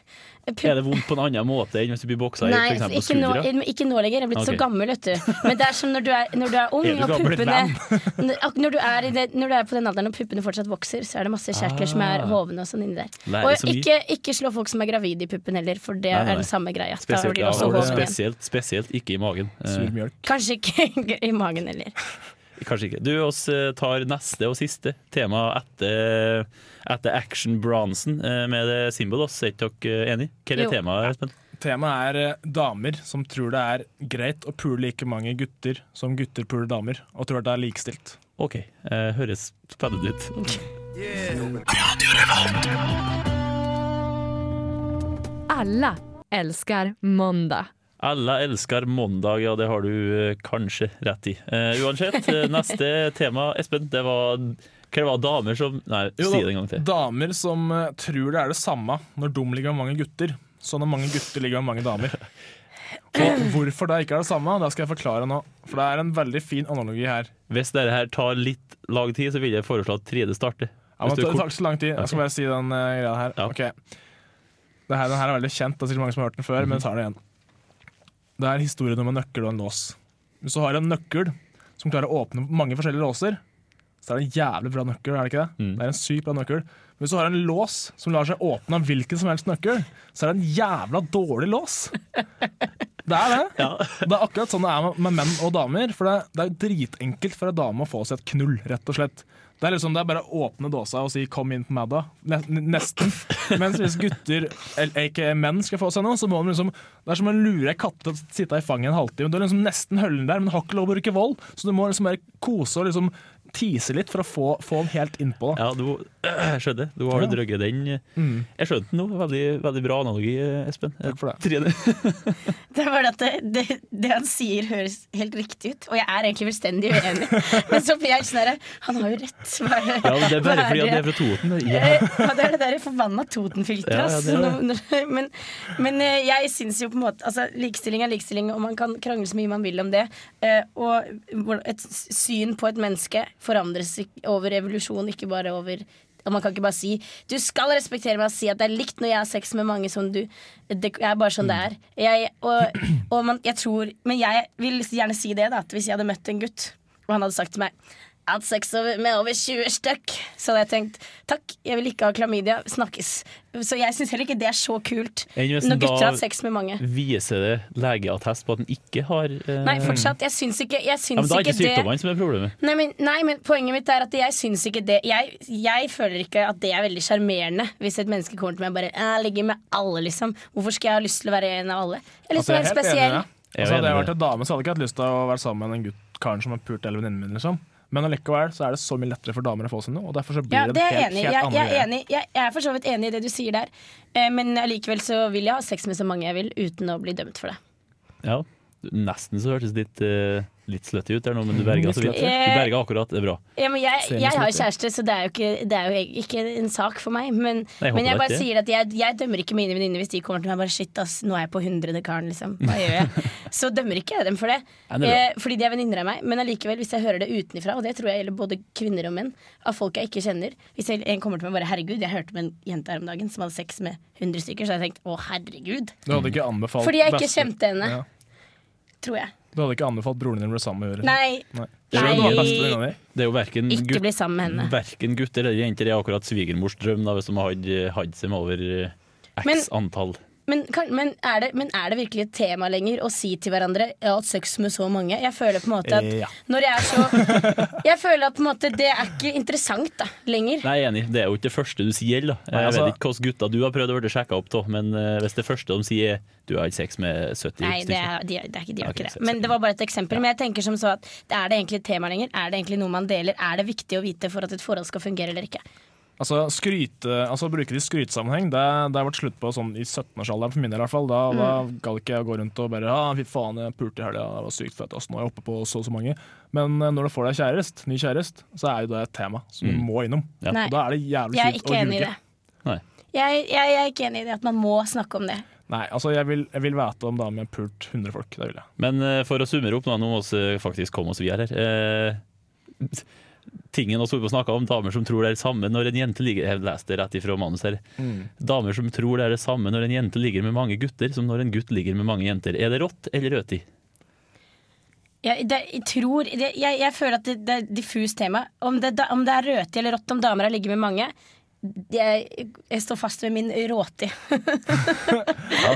Speaker 3: pu-
Speaker 1: Er det vondt på en annen måte enn hvis du blir boksa i
Speaker 3: Nei,
Speaker 1: f.eks.
Speaker 3: ikke nå,
Speaker 1: skuldra?
Speaker 3: ikke nå lenger. Jeg er blitt
Speaker 1: Ok.
Speaker 3: så gammel, vet du. Men det er som når du er, når du er ung
Speaker 1: Er du
Speaker 3: og
Speaker 1: gammel
Speaker 3: puppene N- ak- når du, er i det, når du er på den alderen og puppene fortsatt vokser, så er det masse kjertler som er
Speaker 1: Ah.
Speaker 3: hovne og sånn inni der.
Speaker 1: Nei, det er
Speaker 3: Og
Speaker 1: så mye.
Speaker 3: ikke, ikke slå folk som er gravide i puppen heller, for
Speaker 1: Nei,
Speaker 3: det
Speaker 1: nei,
Speaker 3: er
Speaker 1: nei.
Speaker 3: den samme greia. Da
Speaker 1: Spesielt,
Speaker 3: blir det
Speaker 1: ja,
Speaker 3: også
Speaker 1: og
Speaker 3: hoven igjen.
Speaker 1: spesielt, spesielt ikke i magen.
Speaker 4: Sur
Speaker 1: Eh,
Speaker 4: mjølk.
Speaker 3: Kanskje ikke i magen heller.
Speaker 1: kanskje ikke. Du, oss eh, tar neste og siste tema etter, etter Action Bronson eh, med det Simbalos. Er ikke dere enig? Hva
Speaker 3: Jo.
Speaker 1: er temaet, Espen?
Speaker 4: Temaet er eh, damer som tror det er greit å pule like mange gutter som gutter puler damer, og tror at det er likestilt.
Speaker 1: OK, eh, høres spennende ut.
Speaker 5: Alla älskar måndag.
Speaker 1: Alle elsker mandag, ja det har du eh, kanskje rett i. Eh, uansett, eh, neste tema, Espen, det var Hva det var damer som Nei,
Speaker 4: Jo
Speaker 1: si
Speaker 4: da,
Speaker 1: det en gang til.
Speaker 4: Damer som eh, tror det er det samme når de ligger med mange gutter, så når mange gutter ligger med mange damer. Og hvorfor det ikke er det samme, det skal jeg forklare nå. For det er en veldig fin analogi her.
Speaker 1: Hvis dette her tar litt lang tid, så vil jeg foreslå at Trine starter.
Speaker 4: Ja, men
Speaker 1: Hvis du
Speaker 4: det
Speaker 1: er
Speaker 4: tar
Speaker 1: kort-
Speaker 4: ikke så lang tid. Jeg skal bare si den eh, greia her.
Speaker 1: Ja.
Speaker 4: Ok. Det her, den her er veldig kjent, det er sikkert mange som har hørt den før,
Speaker 1: Mhm.
Speaker 4: men jeg tar den igjen. Det er historien om en nøkkel og en lås. Hvis du har en nøkkel som klarer å åpne mange forskjellige låser, så er det en jævlig bra nøkkel, er det ikke det?
Speaker 1: Mm.
Speaker 4: Det er en sykt bra nøkkel. Men hvis du har en lås som lar seg åpne av hvilken som helst nøkkel, så er det en jævla dårlig lås. Det er det. Det er akkurat sånn det er med- med menn og damer. For det, det er jo dritenkelt for ei dame å få seg et knull, rett og slett. Det er liksom det er bare å åpne dåsa og si 'kom inn på meg, da'. Ne- n- Nesten. Mens hvis gutter, eller ikke menn, skal få seg noe, så må de liksom Det er som å lure ei katt til å sitte i fanget i en halvtime. Du har liksom nesten høllen der, men har ikke lov å bruke vold. Så du må liksom bare kose og liksom tise litt for å få, få den helt innpå. da.
Speaker 1: Ja, du, jeg skjønner. Du har
Speaker 4: Ja.
Speaker 1: drøgget den. Jeg skjønte den nå. Veldig, veldig bra analogi, Espen.
Speaker 4: Takk for det.
Speaker 1: Trine.
Speaker 3: Det er bare at det, det, det han sier høres helt riktig ut, og jeg er egentlig fullstendig uenig. Men så blir jeg helt sånn herre Han har jo rett. Hva er,
Speaker 1: Ja, men det er
Speaker 3: hva
Speaker 1: bare fordi at det er
Speaker 3: det-
Speaker 1: fra Toten.
Speaker 3: Eh, ja, det er det der forbanna Toten-filteret.
Speaker 1: Ja, ja,
Speaker 3: ass.
Speaker 1: det er det.
Speaker 3: Nå- når- Men, men eh, jeg syns jo på en måte altså, Likestilling er likestilling, og man kan krangle så mye man vil om det. Eh, Og hvor- et s- syn på et menneske forandres ikk- over evolusjon, ikke bare over og Man kan ikke bare si 'du skal respektere meg' og si at det er likt når jeg har sex med mange som du. Det er bare sånn
Speaker 1: Mm.
Speaker 3: det er. Jeg, og, og man, jeg tror, men jeg vil gjerne si det, da, at hvis jeg hadde møtt en gutt og han hadde sagt til meg Jeg har hatt sex over, med over 20 stykk. Så hadde jeg tenkt takk, jeg vil ikke ha klamydia. Snakkes. Så jeg syns heller ikke det er så kult
Speaker 1: Enn hvis en
Speaker 3: når
Speaker 1: da-
Speaker 3: gutter har hatt sex med mange.
Speaker 1: Viser det legeattest på at den ikke har eh,
Speaker 3: Nei, fortsatt. Jeg syns ikke, jeg
Speaker 1: ja, men
Speaker 3: syns
Speaker 1: Da er
Speaker 3: ikke
Speaker 1: ikke
Speaker 3: det
Speaker 1: sykdommene som er problemet.
Speaker 3: nei men, nei, men poenget mitt er at jeg syns ikke det jeg, jeg føler ikke at det er veldig sjarmerende hvis et menneske kommer til meg og bare «Eh, 'Jeg ligger med alle', liksom. Hvorfor skal jeg ha lyst til å være en av alle? Jeg har lyst til å være
Speaker 4: Altså, jeg er helt enig
Speaker 3: spesiell.
Speaker 4: i det.
Speaker 1: Jeg er
Speaker 4: Altså, hadde jeg
Speaker 1: enig i
Speaker 4: vært en dame, så hadde jeg ikke hatt lyst til å være sammen med den gutt karen som har pult eller venninnen min. liksom. Men allikevel så er det så mye lettere for damer å få seg noe, og derfor så blir
Speaker 3: Ja,
Speaker 4: det,
Speaker 3: det er
Speaker 4: en
Speaker 3: jeg
Speaker 4: helt,
Speaker 3: enig. i.
Speaker 4: helt
Speaker 3: Jeg,
Speaker 4: annen
Speaker 3: jeg,
Speaker 4: greie.
Speaker 3: er enig. i. Jeg, jeg er for så vidt enig i det du sier der, eh, men allikevel så vil jeg ha sex med så mange jeg vil uten å bli dømt for det.
Speaker 1: Ja, Nesten så hørtes det litt, eh, litt slutty ut der nå, men du berga så vidt. Du
Speaker 3: slutty.
Speaker 1: berga akkurat, det er bra.
Speaker 3: Ja, men jeg,
Speaker 4: Ser meg
Speaker 3: jeg
Speaker 4: som
Speaker 3: har
Speaker 4: et-
Speaker 3: kjæreste, så det er jo ikke, det er jo eg- ikke en sak for meg. Men,
Speaker 1: Nei, jeg håper
Speaker 3: men jeg
Speaker 1: det er
Speaker 3: bare
Speaker 1: ikke.
Speaker 3: sier at jeg, jeg dømmer ikke mine venninner hvis de kommer til meg og bare shit, ass, nå er jeg på hundrede karen, liksom. Hva gjør jeg? Så dømmer ikke jeg dem for det.
Speaker 1: Nei, det er
Speaker 3: eh, fordi de er venninner av meg. Men allikevel, hvis jeg hører det utenfra, og det tror jeg gjelder både kvinner og menn, av folk jeg ikke kjenner Hvis jeg, en kommer til meg og bare herregud, jeg hørte om en jente her om dagen som hadde sex med 100 stykker, så har jeg tenkt å herregud.
Speaker 4: Du hadde ikke anbefalt
Speaker 3: Fordi jeg ikke
Speaker 4: beste-
Speaker 3: kjente henne.
Speaker 4: Ja.
Speaker 3: Tror jeg.
Speaker 4: Du hadde ikke anbefalt broren din å bli sammen med henne?
Speaker 3: Nei,
Speaker 4: Nei.
Speaker 3: Nei.
Speaker 4: Selv om du var bestevenninna di?
Speaker 1: Det er jo verken,
Speaker 3: ikke
Speaker 1: gutt,
Speaker 3: bli sammen med henne.
Speaker 1: verken gutter eller jenter er akkurat svigermors drøm da, hvis de har hatt- hatt seg med over eh, x
Speaker 3: Men-
Speaker 1: antall.
Speaker 3: Men, kan, men, er det, men er det virkelig et tema lenger å si til hverandre ja, at sex med så mange? Jeg føler på en måte at
Speaker 4: Eh, ja.
Speaker 3: når jeg er så Jeg føler at på en måte det er ikke interessant da, lenger.
Speaker 1: Nei, jeg er enig. Det er jo ikke det første du sier. da
Speaker 4: Nei,
Speaker 1: Jeg
Speaker 4: altså-
Speaker 1: vet ikke hvilke gutter du har prøvd å bli sjekka opp av, men eh, hvis det første de sier er 'du har hatt sex med 70
Speaker 3: Nei, det
Speaker 1: stykker',
Speaker 3: er, de, det er ikke, de
Speaker 1: Ja,
Speaker 3: har
Speaker 1: ok,
Speaker 3: ikke
Speaker 1: så-
Speaker 3: det. Men det var bare et eksempel. Men jeg tenker som så at er det egentlig et tema lenger? Er det egentlig noe man deler? Er det viktig å vite for at et forhold skal fungere eller ikke?
Speaker 4: Altså, skryte, altså bruke det i skrytesammenheng, det, det har vært slutt på sånn i 17-årsalderen for min del i hvert fall. Da, da
Speaker 3: Mm.
Speaker 4: gadd ikke jeg å gå rundt og bare ja, fy faen, jeg pulte i helga, det var sykt fett, ass, nå er jeg oppe på så og så mange. Men eh, når du får deg kjærest, ny kjærest, så er jo det et tema som
Speaker 1: Mm.
Speaker 4: du må innom.
Speaker 1: liksom. Ja.
Speaker 3: Nei.
Speaker 4: Og Da er det jævlig
Speaker 3: Jeg er
Speaker 4: kjipt
Speaker 3: ikke
Speaker 4: å
Speaker 3: enig i
Speaker 4: ljuge.
Speaker 3: det.
Speaker 1: Nei.
Speaker 3: Jeg, jeg, jeg er ikke enig i det at man må snakke om det.
Speaker 4: Nei, altså jeg vil, jeg vil vite om damen jeg har pult 100 folk, det vil jeg.
Speaker 1: Men eh, for å summere opp, nå, nå må vi eh, faktisk komme oss videre her. Eh, tingen vi snakka om, damer som tror det er det samme når en jente ligger Jeg leste det rett ifra manus her.
Speaker 4: Mm.
Speaker 1: Damer som tror det er det samme når en jente ligger med mange gutter, som når en gutt ligger med mange jenter. Er det rått eller røti?
Speaker 3: Jeg, det, jeg tror det, jeg, jeg føler at det, det er et diffust tema. Om det, da- om det er røti eller rått om damer har ligget med mange jeg, jeg står fast ved min råti.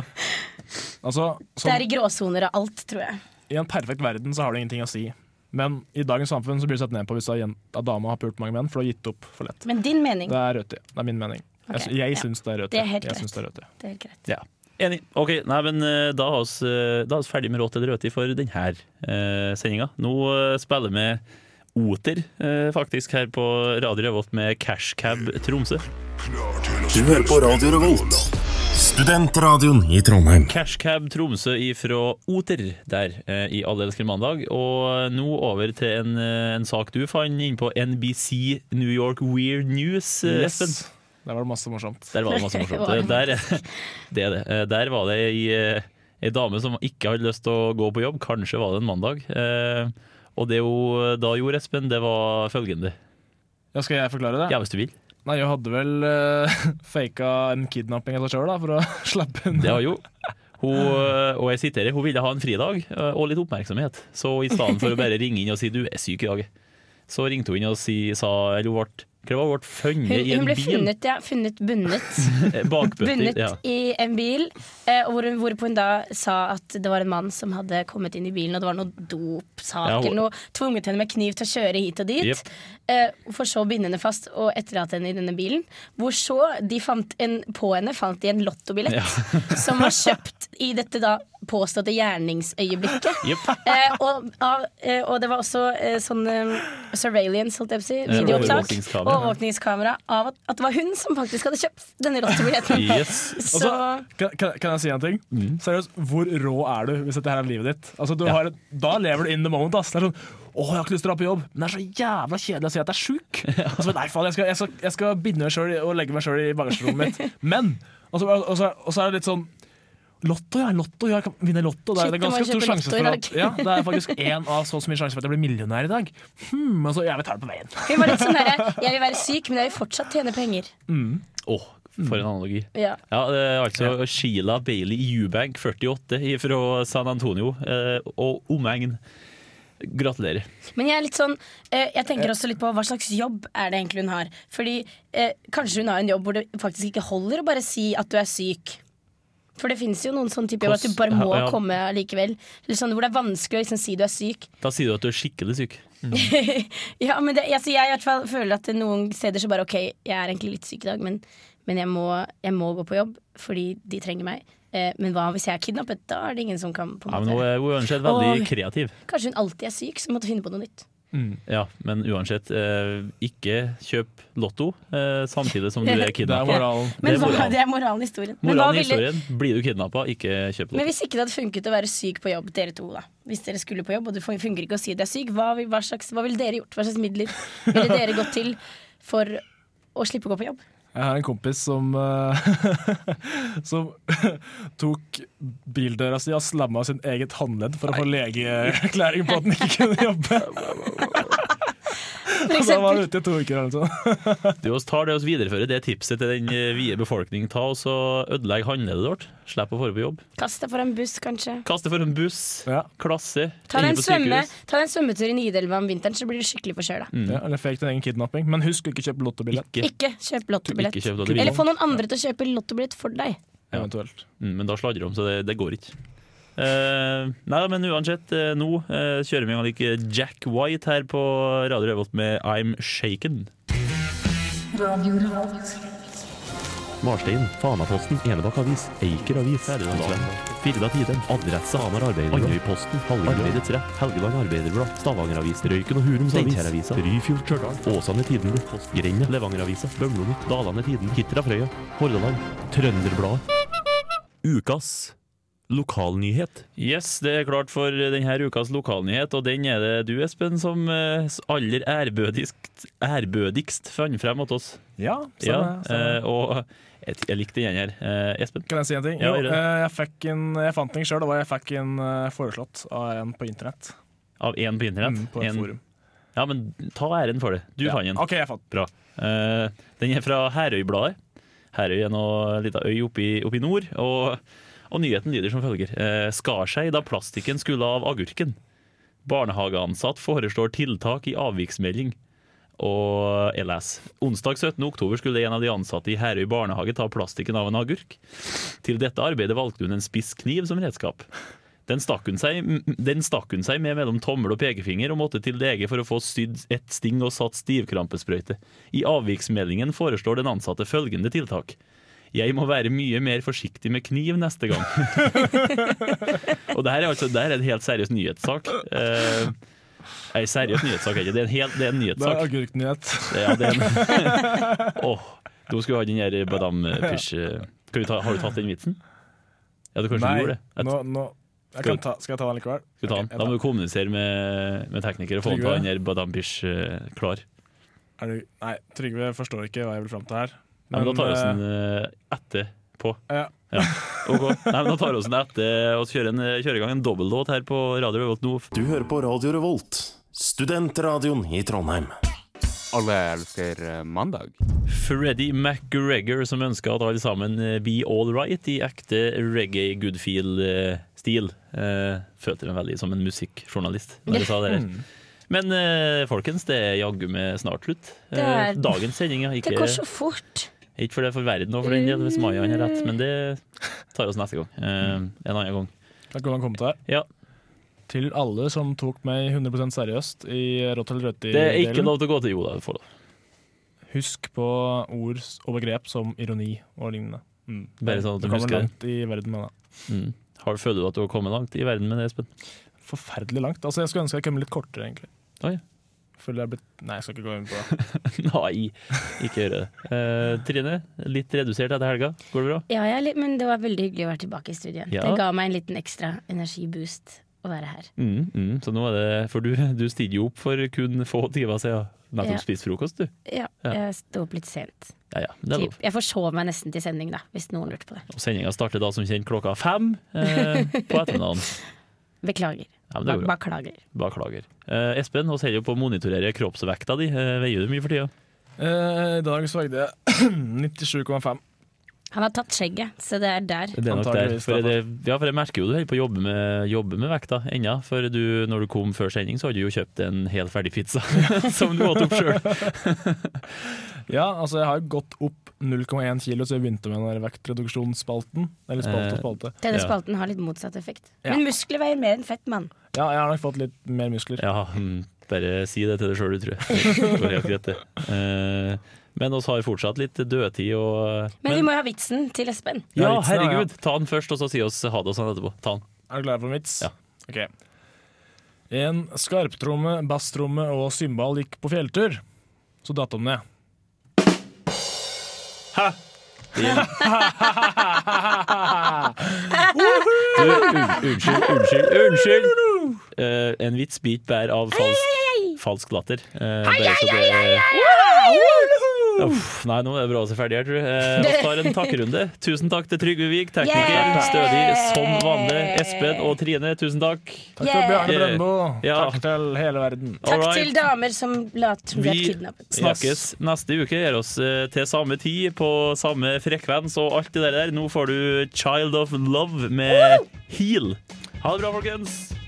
Speaker 4: Altså,
Speaker 3: Det
Speaker 4: sånn-
Speaker 3: er i gråsoner av alt, tror jeg.
Speaker 4: I en perfekt verden så har det ingenting å si. Men i dagens samfunn så blir det sett ned på hvis ei jen- ei dame har pult mange menn, for du har gitt opp for lett.
Speaker 3: Men din mening.
Speaker 4: Det er rødt i. Det er min mening.
Speaker 3: Ok,
Speaker 4: Jeg, sy- jeg
Speaker 3: ja.
Speaker 4: syns det er rødt i.
Speaker 3: Det er helt
Speaker 4: Jeg
Speaker 3: greit.
Speaker 4: syns det er rødt i.
Speaker 3: Det er helt greit.
Speaker 1: Ja. Enig. Ok, nei, men eh, Da er vi uh, ferdig med Rått eller røti for denne uh, sendinga. Nå eh, spiller vi Oter, eh, faktisk, her på Radio Revolt med Cashcab Tromsø.
Speaker 6: Du hører på Radio Revolt. Studentradioen i Trondheim.
Speaker 1: Cashcab Tromsø ifra Oter der eh, i Alle elsker mandag. Og eh, nå over til en, eh, en sak du fant inn på NBC New York Weird News, eh,
Speaker 4: Yes.
Speaker 1: Espen.
Speaker 4: Der var det masse morsomt.
Speaker 1: Der var det masse morsomt. Der, det er det. Eh, Der var det ei, eh, ei dame som ikke hadde lyst til å gå på jobb. Kanskje var det en mandag. Eh, Og det hun eh, da gjorde, Espen, det var følgende.
Speaker 4: Ja, skal jeg forklare det?
Speaker 1: Ja, hvis du vil.
Speaker 4: Nei, jeg hadde vel uh, faka en kidnapping av seg sjøl for å slappe
Speaker 1: Det
Speaker 4: unna.
Speaker 1: var jo. Hun, eh, og jeg siterer, hun ville ha en fridag eh, og litt oppmerksomhet. Så i stedet for å bare ringe inn og si du er syk i dag, så ringte hun inn og si, sa Eller hun ble, hva det var, hun ble funnet
Speaker 3: Hun,
Speaker 1: i en
Speaker 3: hun ble
Speaker 1: bil.
Speaker 3: funnet, ja. Funnet bundet.
Speaker 1: Eh, bakbøtter,
Speaker 3: Bundet
Speaker 1: ja.
Speaker 3: i en bil, eh, hvor hun, hvorpå hun da sa at det var en mann som hadde kommet inn i bilen, og det var noe dopsak
Speaker 1: Ja, hun-
Speaker 3: eller noe. Tvunget henne med kniv til å kjøre hit og dit.
Speaker 1: Jep.
Speaker 3: eh, for så å binde henne fast og etterlate henne i denne bilen. Hvor så de fant en, på henne fant de en lottobillett som var kjøpt i dette da påståtte gjerningsøyeblikket.
Speaker 1: Jep.
Speaker 3: Eh, og, av, eh, og det var også eh, sånn eh, surveillance, holdt jeg på å si, videoopptak.
Speaker 1: overvåkingskamera.
Speaker 3: Overvåkningskamera. Av at, at det var hun som faktisk hadde kjøpt denne lottobilletten.
Speaker 1: Yes.
Speaker 3: Så
Speaker 4: Altså, kan, kan, kan jeg si en ting? Seriøst, hvor rå er du hvis dette her er livet ditt? Altså, du
Speaker 1: Ja.
Speaker 4: har, et- da lever du in the moment. Ass. Det er sånn Å, jeg har ikke lyst til å dra på jobb, men det er så jævla kjedelig å si at jeg er sjuk. Og så, Nei, faen, jeg skal, jeg skal, jeg skal binde meg sjøl og legge meg sjøl i bagasjerommet mitt. Men! Og så, og, så, og så er det litt sånn Lotto, ja. Lotto, ja, jeg kan vinne lotto. Det er,
Speaker 3: Shit,
Speaker 4: det er
Speaker 3: jeg må
Speaker 4: ganske stor
Speaker 3: kjøpe
Speaker 4: sjanse
Speaker 3: lotto i
Speaker 4: for at
Speaker 3: dag.
Speaker 4: ja, Det er faktisk én av så og så mye sjanser for at jeg blir millionær i dag. Hmm, altså, jeg vil ta det på veien.
Speaker 3: hun var litt sånn herre Jeg vil være syk, men jeg vil fortsatt tjene penger.
Speaker 1: Åh, for en analogi.
Speaker 3: Ja.
Speaker 1: Ja, det er altså Sheila Bailey Eubank, 48, fra San Antonio eh, og omegn. Gratulerer.
Speaker 3: Men jeg er litt sånn eh, Jeg tenker også litt på hva slags jobb er det egentlig hun har. Fordi eh, kanskje hun har en jobb hvor det faktisk ikke holder å bare si at du er syk. For det fins jo noen sånn type jobb at du bare må
Speaker 1: Ja, ja.
Speaker 3: komme likevel. Eller sånn, hvor det er vanskelig å liksom si du er syk.
Speaker 1: Da sier du at du er skikkelig syk.
Speaker 3: Ja, men det, altså, jeg i hvert fall føler at noen steder så bare OK, jeg er egentlig litt syk i dag, men, men jeg, må, jeg må gå på jobb fordi de trenger meg. Eh, men hva hvis jeg er kidnappet? Da er det ingen som kan på en
Speaker 1: Ja, men
Speaker 3: måte
Speaker 1: hun er hun er uansett veldig
Speaker 3: Åh.
Speaker 1: kreativ.
Speaker 3: Kanskje hun alltid er syk, så hun måtte finne på noe nytt.
Speaker 1: Ja, Men uansett, eh, ikke kjøp lotto eh, samtidig som du er
Speaker 4: Det er
Speaker 1: kidnappa.
Speaker 4: moralen.
Speaker 3: Men
Speaker 1: Det er
Speaker 3: hva,
Speaker 1: moralen.
Speaker 3: det er moralen i historien. Men, hva
Speaker 1: Moralen i
Speaker 3: ville,
Speaker 1: historien blir du kidnappa, ikke kjøp
Speaker 3: men
Speaker 1: lotto.
Speaker 3: hvis ikke det hadde funket å være syk på jobb, dere to, da. Hvis dere skulle på jobb, og det fun- funker ikke å si at du er syk, hva, vil- hva, slags, hva ville dere gjort? Hva slags midler ville dere gått til for å slippe å gå på jobb?
Speaker 4: Jeg har en kompis som eh, Som tok bildøra si og slamma sin eget håndledd for å få legeerklæring på at han ikke kunne jobbe.
Speaker 3: For
Speaker 4: Da var
Speaker 3: eksempel.
Speaker 4: han ute i to uker eller noe sånt.
Speaker 1: Du oss tar det oss viderefører det tipset til den eh, vide befolkningen. Ta oss og Ødelegg handledet vårt. Slipp å dra på jobb.
Speaker 3: Kast deg foran en buss, kanskje.
Speaker 1: Kast det for en buss.
Speaker 4: Ja.
Speaker 1: Klasse.
Speaker 3: Ta
Speaker 1: Ingen
Speaker 3: deg en,
Speaker 1: på
Speaker 3: svømme,
Speaker 1: sykehus. Mm.
Speaker 3: ta deg en svømmetur i Nidelva om vinteren, så blir du skikkelig forkjøla.
Speaker 4: Ja, eller fake din egen kidnapping. Men husk å ikke kjøpe lottobillett.
Speaker 1: Ikke.
Speaker 3: Ikke kjøp lottobillett.
Speaker 1: Ikke kjøp lottobillett.
Speaker 3: Eller få noen andre til å kjøpe lottobillett for deg.
Speaker 4: eventuelt.
Speaker 1: Mm, men da sladrer de, så det, det går ikke. Eh, nei, men uansett, eh, nå eh, kjører vi en gang like Jack White her på Radio Revolt med I'm Shaken.
Speaker 7: Marstein, Fanaposten, Enebakk Avis, Eiker Avis, Firda Tidem, Adresse Hamar Arbeiderblad, Andøyposten, Hallegarbeidets Rett, Helgeland Arbeiderblad, Stavanger Avis, Røyken og Hurums Avis, Steinkjer Avisa, Ryfjord Stjørdal, Åsane Tidende, Grenda, Levanger Avisa, Bømlo Nytt, Dalane Tiden, Hitra Frøya, Hordaland, Trønderbladet. Ukas lokalnyhet.
Speaker 1: Yes, det er klart for denne ukas lokalnyhet, og den er det du, Espen, som eh, aller ærbødigst, ærbødigst fant frem til oss.
Speaker 4: Ja, stemmer.
Speaker 1: ja,
Speaker 4: stemmer.
Speaker 1: eh, og jeg, jeg likte den her. Eh, Espen?
Speaker 4: Kan jeg si en ting?
Speaker 1: Ja,
Speaker 4: Jo,
Speaker 1: gjør det.
Speaker 4: eh, jeg, fikk en, jeg fant den sjøl, og jeg fikk en eh, foreslått av en på internett.
Speaker 1: Av én på internett?
Speaker 4: Mm, på et
Speaker 1: En-
Speaker 4: forum.
Speaker 1: Ja, men ta æren for det. Du
Speaker 4: Ja.
Speaker 1: fant den.
Speaker 4: OK, jeg fant den.
Speaker 1: Bra. Eh, den er fra Herøybladet. Herøy er nå en liten øy oppe i- oppe i nord. Og, og nyheten lyder som følger. Eh, skar seg da plastikken skulle av agurken. Barnehageansatt foreslår tiltak i avviksmelding. Og jeg leser. Onsdag 17. oktober skulle en av de ansatte i Herøy barnehage ta plastikken av en agurk. Til dette arbeidet valgte hun en spiss kniv som redskap. Den stakk, hun seg, den stakk hun seg med mellom tommel og pekefinger og måtte til lege for å få sydd et sting og satt stivkrampesprøyte. I avviksmeldingen foreslår den ansatte følgende tiltak. Jeg må være mye mer forsiktig med kniv neste gang. og det her er altså det her er en helt seriøs nyhetssak. Eh, ei seriøs nyhetssak, er ikke det? Det er en, helt, det er
Speaker 4: Det er
Speaker 1: en nyhetssak.
Speaker 4: agurknyhet.
Speaker 1: Ja, det er en... Åh, du skulle ha den her Badame Pish eh, Skal vi ta, Har du tatt den vitsen? Ja, du kanskje du gjorde det? Jeg-
Speaker 4: nå, nå jeg
Speaker 1: Skal-
Speaker 4: kan ta, Skal jeg ta den likevel?
Speaker 1: Skal vi ta den?
Speaker 4: Ok, jeg
Speaker 1: Da
Speaker 4: tar
Speaker 1: må du kommunisere med, med tekniker og få han til
Speaker 4: Trygve?
Speaker 1: den her Badame Pish eh, klar.
Speaker 4: Er du, nei, Trygve forstår ikke hva jeg vil fram til her.
Speaker 1: Ja, men da tar vi oss
Speaker 4: eh,
Speaker 1: den eh, etterpå.
Speaker 4: ja.
Speaker 1: Ok. Nei, men da tar vi oss den etter og så kjører, en, kjører i gang en dobbellåt her på Radio Revolt nå.
Speaker 6: Du hører på Radio Revolt, studentradioen i Trondheim.
Speaker 8: Alle elsker eh, mandag.
Speaker 1: Freddy McGregor som ønsker at alle sammen eh, be all right i ekte reggae goodfeel-stil. Følte meg veldig som en musikkjournalist når jeg sa det.
Speaker 3: Mm.
Speaker 1: her. Men eh, folkens, det er jaggu meg snart slutt.
Speaker 3: Det er-
Speaker 1: Eh, Dagens sending, ja. Ikke,
Speaker 3: Det går så fort.
Speaker 1: ikke for det for verden og for den del, hvis Mayan har rett, men det tar vi oss neste gang. Eh, En annen gang.
Speaker 4: Takk for en kommentar.
Speaker 1: Ja,
Speaker 4: Til alle som tok meg 100 seriøst i Rått eller
Speaker 1: Det er ikke
Speaker 4: rødt-delen,
Speaker 1: lov til å gå til Joda. for det.
Speaker 4: husk på ord og begrep som ironi og lignende. Mm.
Speaker 1: Bare sånn at du
Speaker 4: kommer
Speaker 1: husker det.
Speaker 4: langt i verden med det.
Speaker 1: Mm. Har- Føler du at du har kommet langt i verden med det, Espen?
Speaker 4: Forferdelig langt. Altså, jeg skulle ønske jeg kom litt kortere, egentlig.
Speaker 1: Oi.
Speaker 4: Føler jeg er blitt Nei, jeg skal ikke gå inn på det.
Speaker 1: Nei, ikke gjør det. Eh, Trine, litt redusert etter helga. Går det bra?
Speaker 3: Ja, jeg er litt, men det var veldig hyggelig å være tilbake i studio igjen.
Speaker 1: Ja.
Speaker 3: Det ga meg en liten ekstra energiboost å være her.
Speaker 1: Mm, mm, så nå er det, for du, du stiller jo opp for kun få timer siden. Nettopp
Speaker 3: Ja.
Speaker 1: spist frokost, du.
Speaker 3: Ja,
Speaker 1: Ja.
Speaker 3: jeg sto opp litt sent.
Speaker 1: Ja, ja, det er
Speaker 3: Typ.
Speaker 1: lov.
Speaker 3: Jeg forsov meg nesten til sending, da, hvis noen lurte på det.
Speaker 1: Og sendinga starter da som kjent klokka fem eh, på ettermiddagen.
Speaker 3: Beklager.
Speaker 1: Ja, men det er bra.
Speaker 3: Beklager.
Speaker 1: Beklager. Eh, Espen, vi holder jo på å monitorere kroppsvekta di. Eh, veier du mye for tida?
Speaker 4: Eh, I dag så veide jeg 97,5.
Speaker 3: Han har tatt skjegget, så det er der.
Speaker 1: Det er nok der.
Speaker 4: Antageligvis,
Speaker 1: For
Speaker 4: da.
Speaker 1: det, ja, for jeg merker jo du holder på å jobbe med, jobbe med vekta ennå. For du, når du kom før sending, så hadde du jo kjøpt en helt ferdig pizza som du åt opp sjøl.
Speaker 4: Ja, altså jeg har jo gått opp 0,1 kilo, så jeg begynte med den der vektreduksjonsspalten. Eller spalte
Speaker 1: Eh,
Speaker 4: og spalte.
Speaker 3: Denne
Speaker 1: Ja.
Speaker 3: spalten har litt motsatt effekt.
Speaker 4: Ja.
Speaker 3: Men muskler veier mer enn fett, mann.
Speaker 4: Ja, jeg har nok fått litt mer muskler.
Speaker 1: Ja, mm, bare si det til deg sjøl, du, tror jeg. Det går helt greit, det. Eh, men oss har fortsatt litt dødtid og eh,
Speaker 3: Men, vi må jo ha vitsen til Espen.
Speaker 1: Ja,
Speaker 4: Ja, vitsen, ja,
Speaker 1: herregud! Ta den først, og så si oss ha det og sånn etterpå. Ta den.
Speaker 4: Er du klar for en vits?
Speaker 1: Ja.
Speaker 4: Ok. En skarptromme, basstromme og cymbal gikk på fjelltur. Så datt de ned.
Speaker 1: Du, un- unnskyld, unnskyld, unnskyld! Eh, en vits bit bær av falsk, falsk latter. Eh, bare så det Uff, nei, nå er det bra å se ferdig her, tror jeg. Eh, Vi tar en takkrunde. Tusen takk til Trygve Vik, tekniker,
Speaker 3: Yeah!
Speaker 1: stødig som vanlig. Espen og Trine, tusen takk.
Speaker 4: Takk til Bjarne
Speaker 1: Yeah.
Speaker 4: Brøndbo.
Speaker 1: Ja.
Speaker 4: Takk til hele verden.
Speaker 3: Takk
Speaker 1: Alright.
Speaker 3: til damer som later som de er
Speaker 1: Vi
Speaker 3: kidnappet.
Speaker 1: snakkes neste uke. Gjør oss eh, til samme tid, på samme frekvens og alt det der. Nå får du Child of Love med Heal. Ha det bra, folkens.